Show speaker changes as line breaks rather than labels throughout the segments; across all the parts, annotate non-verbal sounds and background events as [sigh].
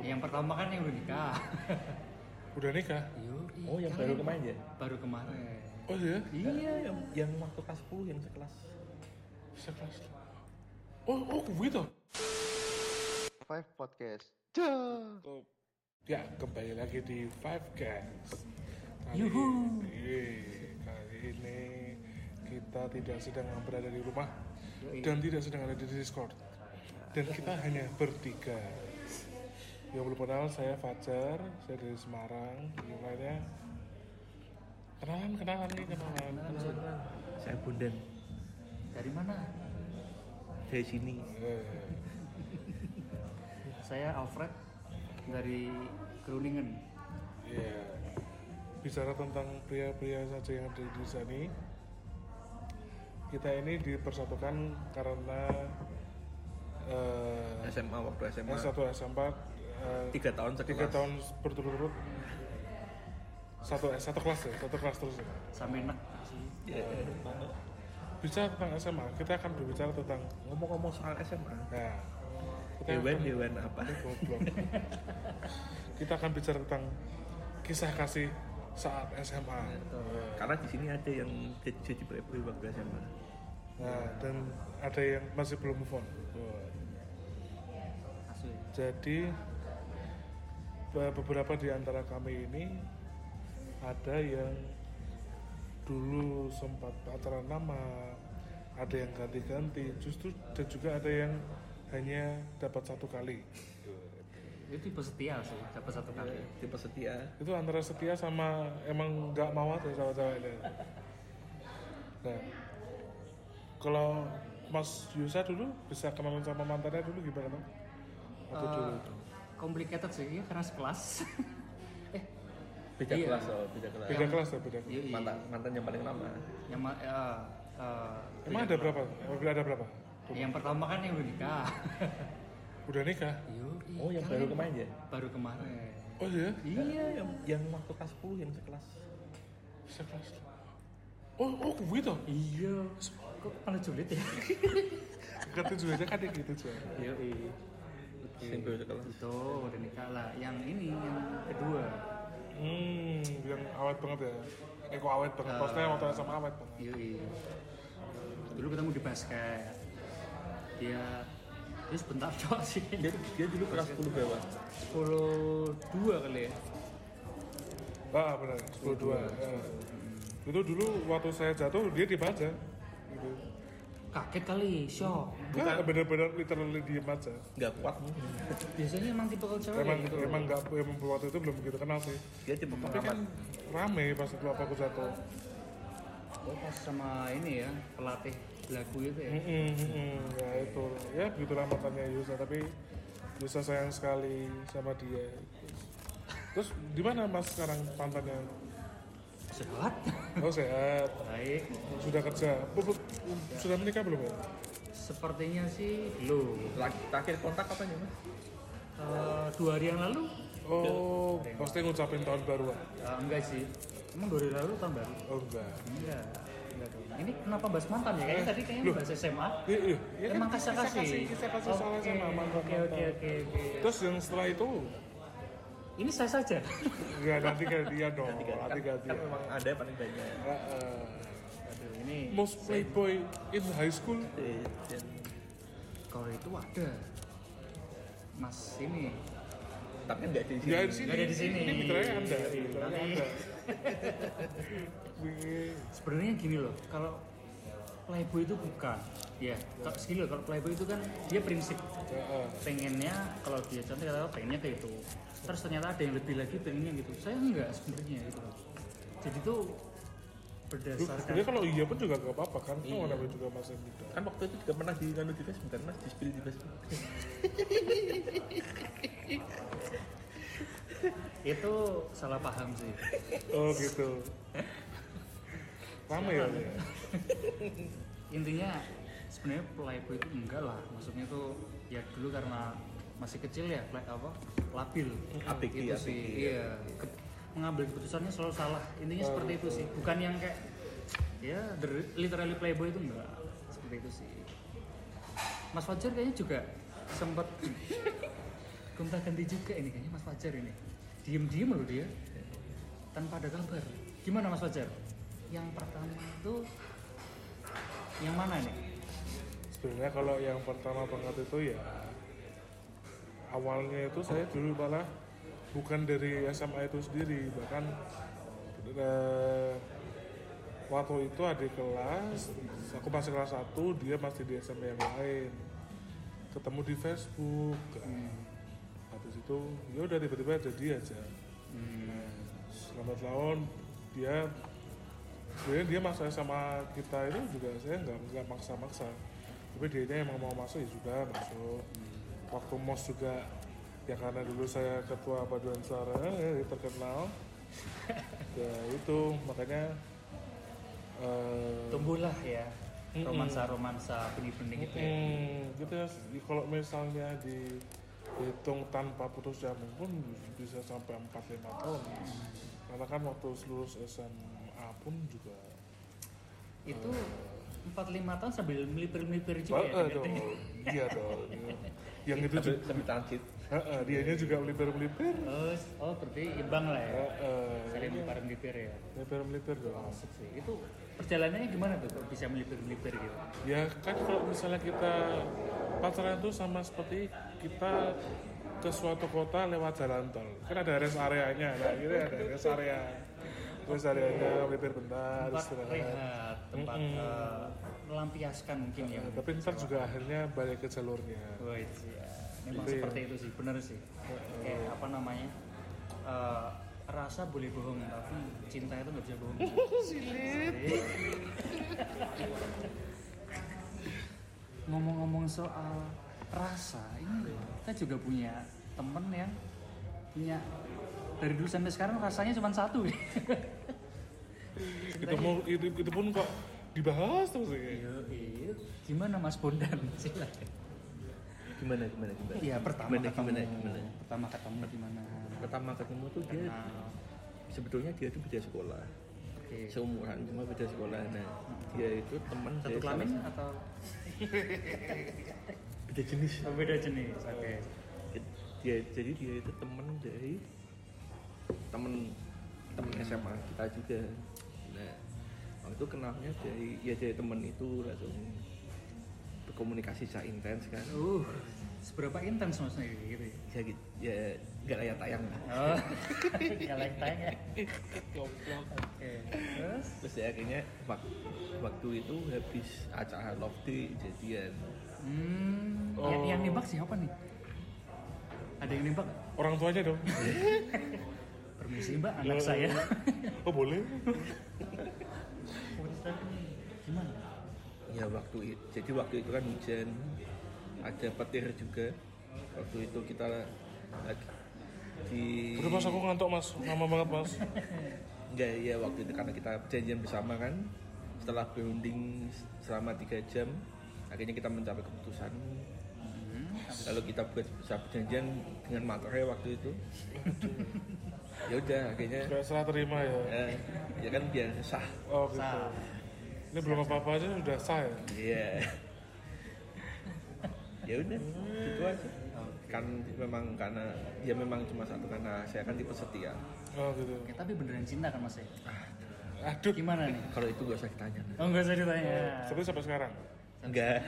yang pertama kan yang udah nikah
Udah nikah?
Yoi,
Oh, yang
kan
baru kemarin ya?
baru kemarin
Oh iya?
iya yang
Yang waktu kelas 10 yang sekelas. Sekelas. Oh, oh gitu.
Five Podcast. Cah.
Oh. Ya, kembali lagi di Five Guys. Kali
Yuhu.
Ini, kali ini kita tidak sedang berada di rumah
Yoi.
dan tidak sedang ada di Discord. Dan kita hanya bertiga. Yang belum kenal, saya Fajar, saya dari Semarang, yang lainnya kenalan, kenalan nih, kenalan.
Saya Bondan
dari mana
dari sini.
Eh,
saya Alfred dari Keruningan
Iya. Bicara tentang pria-pria saja yang ada di sini, kita ini dipersatukan karena eh,
SMA waktu SMA.
S1 S4 eh,
Tiga tahun sekelas.
tiga tahun berturut-turut satu satu kelas ya, satu kelas terus. Ya.
sampai enak sih
Ya,
Bicara tentang SMA, kita akan berbicara tentang
Ngomong-ngomong soal SMA.
nah, kita
Hewan
akan-
hewan apa?
Ini [laughs] goblok. kita akan bicara tentang kisah kasih saat SMA.
Karena di sini ada yang jadi jadi playboy waktu SMA.
Nah, dan ada yang masih belum move on.
asli
Jadi be- beberapa di antara kami ini ada yang dulu sempat pacaran lama, ada yang ganti-ganti, justru dan juga ada yang hanya dapat satu kali.
itu tipe setia sih dapat satu kali
Tipe setia.
Itu antara setia sama emang nggak mau aja sama ceweknya. Nah, kalau Mas Yusa dulu bisa kenalan sama mantannya dulu gimana? Bang? Atau dulu itu?
complicated sih iya, karena sekelas [laughs] eh
Beda
Iya.
kelas oh, beda kelas. Iya,
beda kelas ya beda kelas
yoi.
Mantan mantan yang paling lama.
yang ma- eh, eh,
emang ada berapa emang ada berapa
yang pertama kan yang udah nikah
udah nikah
[laughs] Yoi,
Oh, yang
kan
baru kemarin ya?
baru kemarin
oh iya
iya yang
Yang waktu kelas 10 yang sekelas.
sekelas oh oh gitu
iya kok malah julid ya
kata juga aja kan dia gitu juga
Yoi.
Yang baru sekelas.
itu udah nikah lah yang ini yang kedua
hmm yang awet banget ya eh kok awet banget maksudnya waktu sama awet banget
Yoi. dulu ketemu di basket dia dia sebentar doang sih
Dia, dia dulu kelas 10 bawah.
102 kali ya
ah benar sepuluh dua Ah. itu dulu waktu saya jatuh dia diem aja gitu
kaget kali shock
Bukan. benar-benar literally diem aja
Nggak kuat.
biasanya emang tipe cewek
emang
ya gitu
emang nggak emang waktu itu belum begitu kenal sih
Dia tipe
tapi kan
pengamat.
rame pas itu apa aku jatuh
Oh, pas sama ini ya pelatih lagu itu ya
Mm-mm, mm-mm. ya itu ya begitulah matanya Yusa tapi Yusa sayang sekali sama dia terus di mana mas sekarang pantannya
sehat
oh sehat
baik
sudah kerja Bu- bu- sudah menikah belum ya
sepertinya sih belum
Lak- Terakhir kontak apanya mas?
Eh, dua hari yang lalu
oh pasti ngucapin tahun baru ah?
Eh, enggak sih emang dua hari lalu tahun baru
oh enggak
enggak enggak Iya, dong. ini kenapa bahas mantan ya kayaknya tadi kayaknya
Loh.
bahas SMA
iya iya Ya kan,
emang kasih
kisah
kasih
kisah kasih soal
oke
sama mantan
oke oke oke oke.
terus yang setelah itu
ini saya saja
enggak nanti gantian dong
Tiga. Kan,
nanti
kan
gantian
memang ada yang paling banyak.
Ah, ah.
aduh ini
most playboy in high school
Eh, Dan
kalau itu ada mas ini
tapi kan nggak di sini.
Gak ada di sini.
Nggak ada di sini.
Ini mitranya Anda.
Iya,
Mitranya Iya,
nanti.
Anda. Wih.
sebenarnya gini loh kalau playboy itu bukan ya kalau segini loh kalau playboy itu kan dia prinsip
Heeh.
pengennya kalau dia cantik kata pengennya kayak itu terus ternyata ada yang lebih lagi pengennya gitu saya enggak sebenarnya gitu loh. jadi tuh
Lu,
berdasarkan
Sebenarnya kalau iya pun juga gak apa-apa kan.
Iya.
Kamu namanya juga masih muda.
Kan waktu itu juga pernah di nganu di Facebook kan mas, di spill di Facebook.
itu salah paham sih
Oh
[laughs]
gitu. Rame ya. Lia?
intinya sebenarnya playboy itu enggak lah maksudnya tuh ya dulu karena masih kecil ya play, apa labil
Apik,
itu
iya,
sih
apik,
iya Ke- mengambil keputusannya selalu salah intinya seperti itu sih bukan yang kayak ya the- literally playboy itu enggak [laughs] seperti itu sih Mas Fajar kayaknya juga sempat gonta ganti juga ini kayaknya Mas Fajar ini diem diem loh dia tanpa ada kabar gimana Mas Fajar yang pertama itu yang mana ini
sebenarnya kalau yang pertama banget itu ya awalnya itu saya dulu malah bukan dari SMA itu sendiri bahkan eh, waktu itu adik kelas aku masih kelas 1 dia masih di SMA yang lain ketemu di Facebook kan. habis itu ya udah tiba-tiba jadi aja selamat laun dia sebenarnya dia masa sama kita itu juga saya nggak nggak maksa-maksa tapi dia yang mau masuk ya juga masuk waktu mos juga ya karena dulu saya ketua paduan suara eh, terkenal ya itu makanya eh,
tumbuhlah ya
Mm-mm.
romansa romansa benih-benih gitu ya
Hmm, gitu ya. Di- Kalau misalnya dihitung tanpa putus nyambung pun bisa sampai 4-5 tahun. Karena kan waktu lulus SMA pun juga
itu empat lima tahun sambil melipir-melipir juga
Wah,
ya
eh,
ternyata.
dong. Iya dong. Yang itu
Sambil,
juga
sambil transit.
Heeh, dianya juga melipir-melipir.
oh, oh berarti imbang lah ya
Heeh, iya.
saling melipir-melipir ya
Melipir-melipir dong.
Asik sih. itu perjalanannya gimana tuh kok bisa melipir-melipir gitu
Ya kan kalau misalnya kita pacaran itu sama seperti kita ke suatu kota lewat jalan tol. Kan ada rest areanya, nah ini ada rest area. Rest areanya melipir bentar,
tempat
istirahat.
rehat tempat eh, melampiaskan mungkin ya
Tapi ntar juga akhirnya balik ke jalurnya.
Wah, iya. memang
Gitu ya.
seperti itu sih bener sih kayak apa namanya eh, rasa boleh bohong tapi cinta itu nggak bisa [laughs] bohong Silit. [laughs] ngomong-ngomong soal rasa ini kita juga punya temen yang punya dari dulu sampai sekarang rasanya cuma satu
Itu, mau, itu, itu pun kok dibahas terus ya.
Iya, [laughs] gimana Mas Bondan? Silakan.
Gimana gimana gimana?
Iya, pertama
Gimana,
ketemu.
gimana, gimana?
Pertama ketemu di mana?
Pertama ketemu tuh dia
Kenal.
sebetulnya dia tuh beda sekolah.
Oke.
Seumuran cuma beda sekolah. Nah, dia itu teman
Satu
salah
kelamin
satu-
atau
beda jenis.
Oh, beda jenis? Oke.
Dia jadi dia itu teman dari temen temen SMA kita juga. Nah, waktu itu kenalnya dari ya dari temen itu langsung berkomunikasi secara intens kan.
Uh, seberapa intens Mas Negi gitu ya?
Ya, gitu- ya nggak layak tayang lah.
Oh, [laughs] nggak like tanya. Oke. Terus?
terus ya akhirnya waktu, waktu itu habis acara love day jadian
Hmm, yang, yang nembak siapa nih? Ada yang nembak? nggak?
Orang tuanya dong.
Permisi Mbak, anak saya.
Oh boleh?
Punten. [laughs] Gimana?
ya waktu itu jadi waktu itu kan hujan ada petir juga waktu itu kita lagi di
Udah mas aku ngantuk mas, lama banget mas.
enggak ya waktu itu karena kita janjian bersama kan setelah bonding selama tiga jam akhirnya kita mencapai keputusan lalu kita buat satu perjanjian dengan materai waktu itu ya udah akhirnya
Gak serah terima ya.
eh, ya kan biar sah
Oh gitu.
Sah.
Ini belum apa-apa aja sudah sah ya.
Iya. ya udah, gitu aja. Kan memang karena ya memang cuma satu karena saya kan tipe setia.
Oh gitu.
Oke, tapi beneran cinta kan Mas ya?
Aduh. Oh.
Gimana nih?
Kalau itu gak usah ditanya.
Oh, nggak usah ditanya.
Tapi sampai sekarang.
Enggak.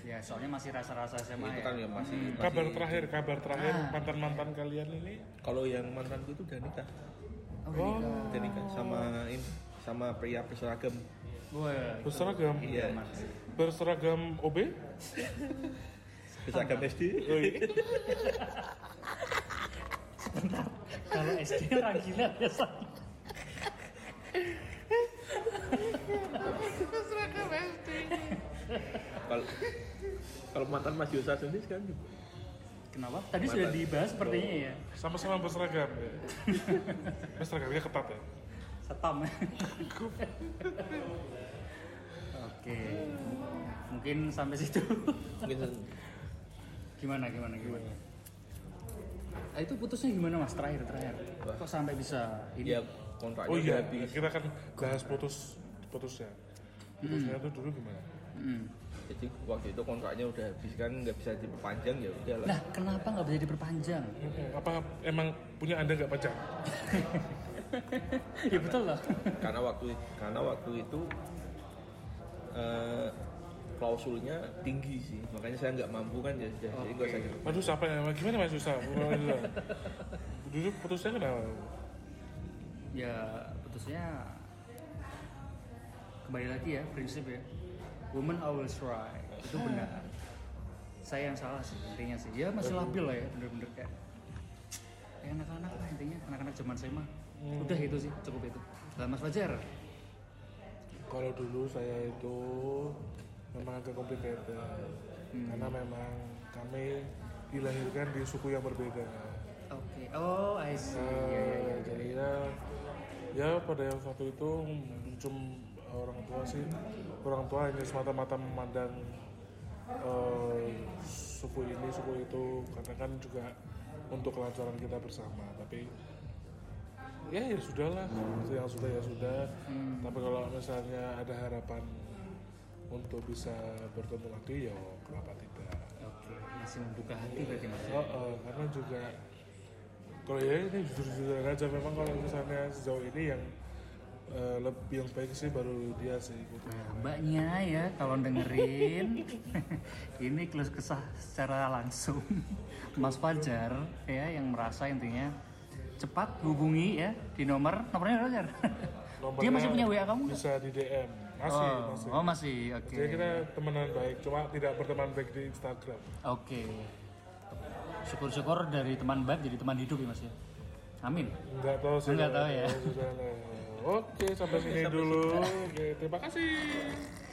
Ya, soalnya masih rasa-rasa SMA
itu
ya.
kan ya masih, masih- gitu. Ah.
Kabar terakhir, kabar terakhir mantan-mantan kalian ini
Kalau yang mantanku itu udah nikah.
Oh, udah nikah.
Udah nikah sama ini sama pria berseragam.
Wah, itu
berseragam
Iya.
aman sih.
berseragam OB
Berseragam SD.
Kalau SD orang gila biasanya.
Kalau kalau mantan Mas Yosa sendiri sekarang
Kenapa? Tadi sudah dibahas sepertinya ya.
sama-sama berseragam
[laughs]
ya. berseragamnya ketat ya
Setam. Oke. Mungkin sampai situ.
mungkin
gimana gimana gimana. Ah, itu putusnya gimana Mas terakhir terakhir? Kok sampai bisa ini?
ya kontraknya
oh
udah
iya
habis. Hmm.
kita kan bahas putus putusnya putusnya itu dulu gimana
Mm.
jadi waktu itu kontraknya udah habis kan nggak bisa diperpanjang ya udahlah
Nah, kenapa nggak bisa diperpanjang?
Apa emang punya anda nggak pacar?
ya betul loh.
karena waktu karena waktu itu eh, klausulnya tinggi sih makanya saya nggak mampu kan ya sudah jadi gue saya
Waduh, siapa yang gimana mas susah? Mas
[laughs]
susah. Dulu putusnya kenapa?
ya putusnya kembali lagi ya prinsip ya. Woman always right. Itu benar. Saya yang salah sih intinya sih. Ya masih labil lah ya bener-bener kayak. Kayak anak-anak lah intinya, anak-anak zaman saya mah. Udah itu sih, cukup itu. Lah Mas Fajar,
Kalau dulu saya itu memang agak complicated karena memang kami dilahirkan di suku yang berbeda.
oke. Oh, I see. Ya, ya, ya.
Eh, jadi ya, ya pada yang satu itu cum orang tua sih orang tua hanya semata-mata memandang eh, suku ini suku itu karena kan juga untuk kelancaran kita bersama tapi ya ya sudahlah yang sudah ya sudah tapi kalau misalnya ada harapan untuk bisa bertemu lagi ya kenapa tidak
Oke, masih membuka hati berarti Mas.
Oh, oh, karena juga kalau ya ini jujur-jujur aja memang kalau misalnya sejauh ini yang eh, lebih yang baik sih baru dia sih gitu.
Nah, mbaknya ya kalau dengerin [laughs] ini keluh kesah secara langsung [laughs] Mas Fajar ya yang merasa intinya cepat hubungi ya di nomor nomornya berapa, Jar? [laughs]
Nomornya
Dia masih punya WA kamu nggak?
Bisa di DM. Masih,
Oh,
masih.
oh, masih. Oke.
Jadi kita temenan baik, cuma tidak berteman baik di Instagram.
Oke. Syukur-syukur dari teman baik jadi teman hidup ya Mas ya. Amin.
Enggak tahu sih.
Nggak tahu ya.
Sudah lah. Oke, sampai sini dulu. Oke, terima kasih.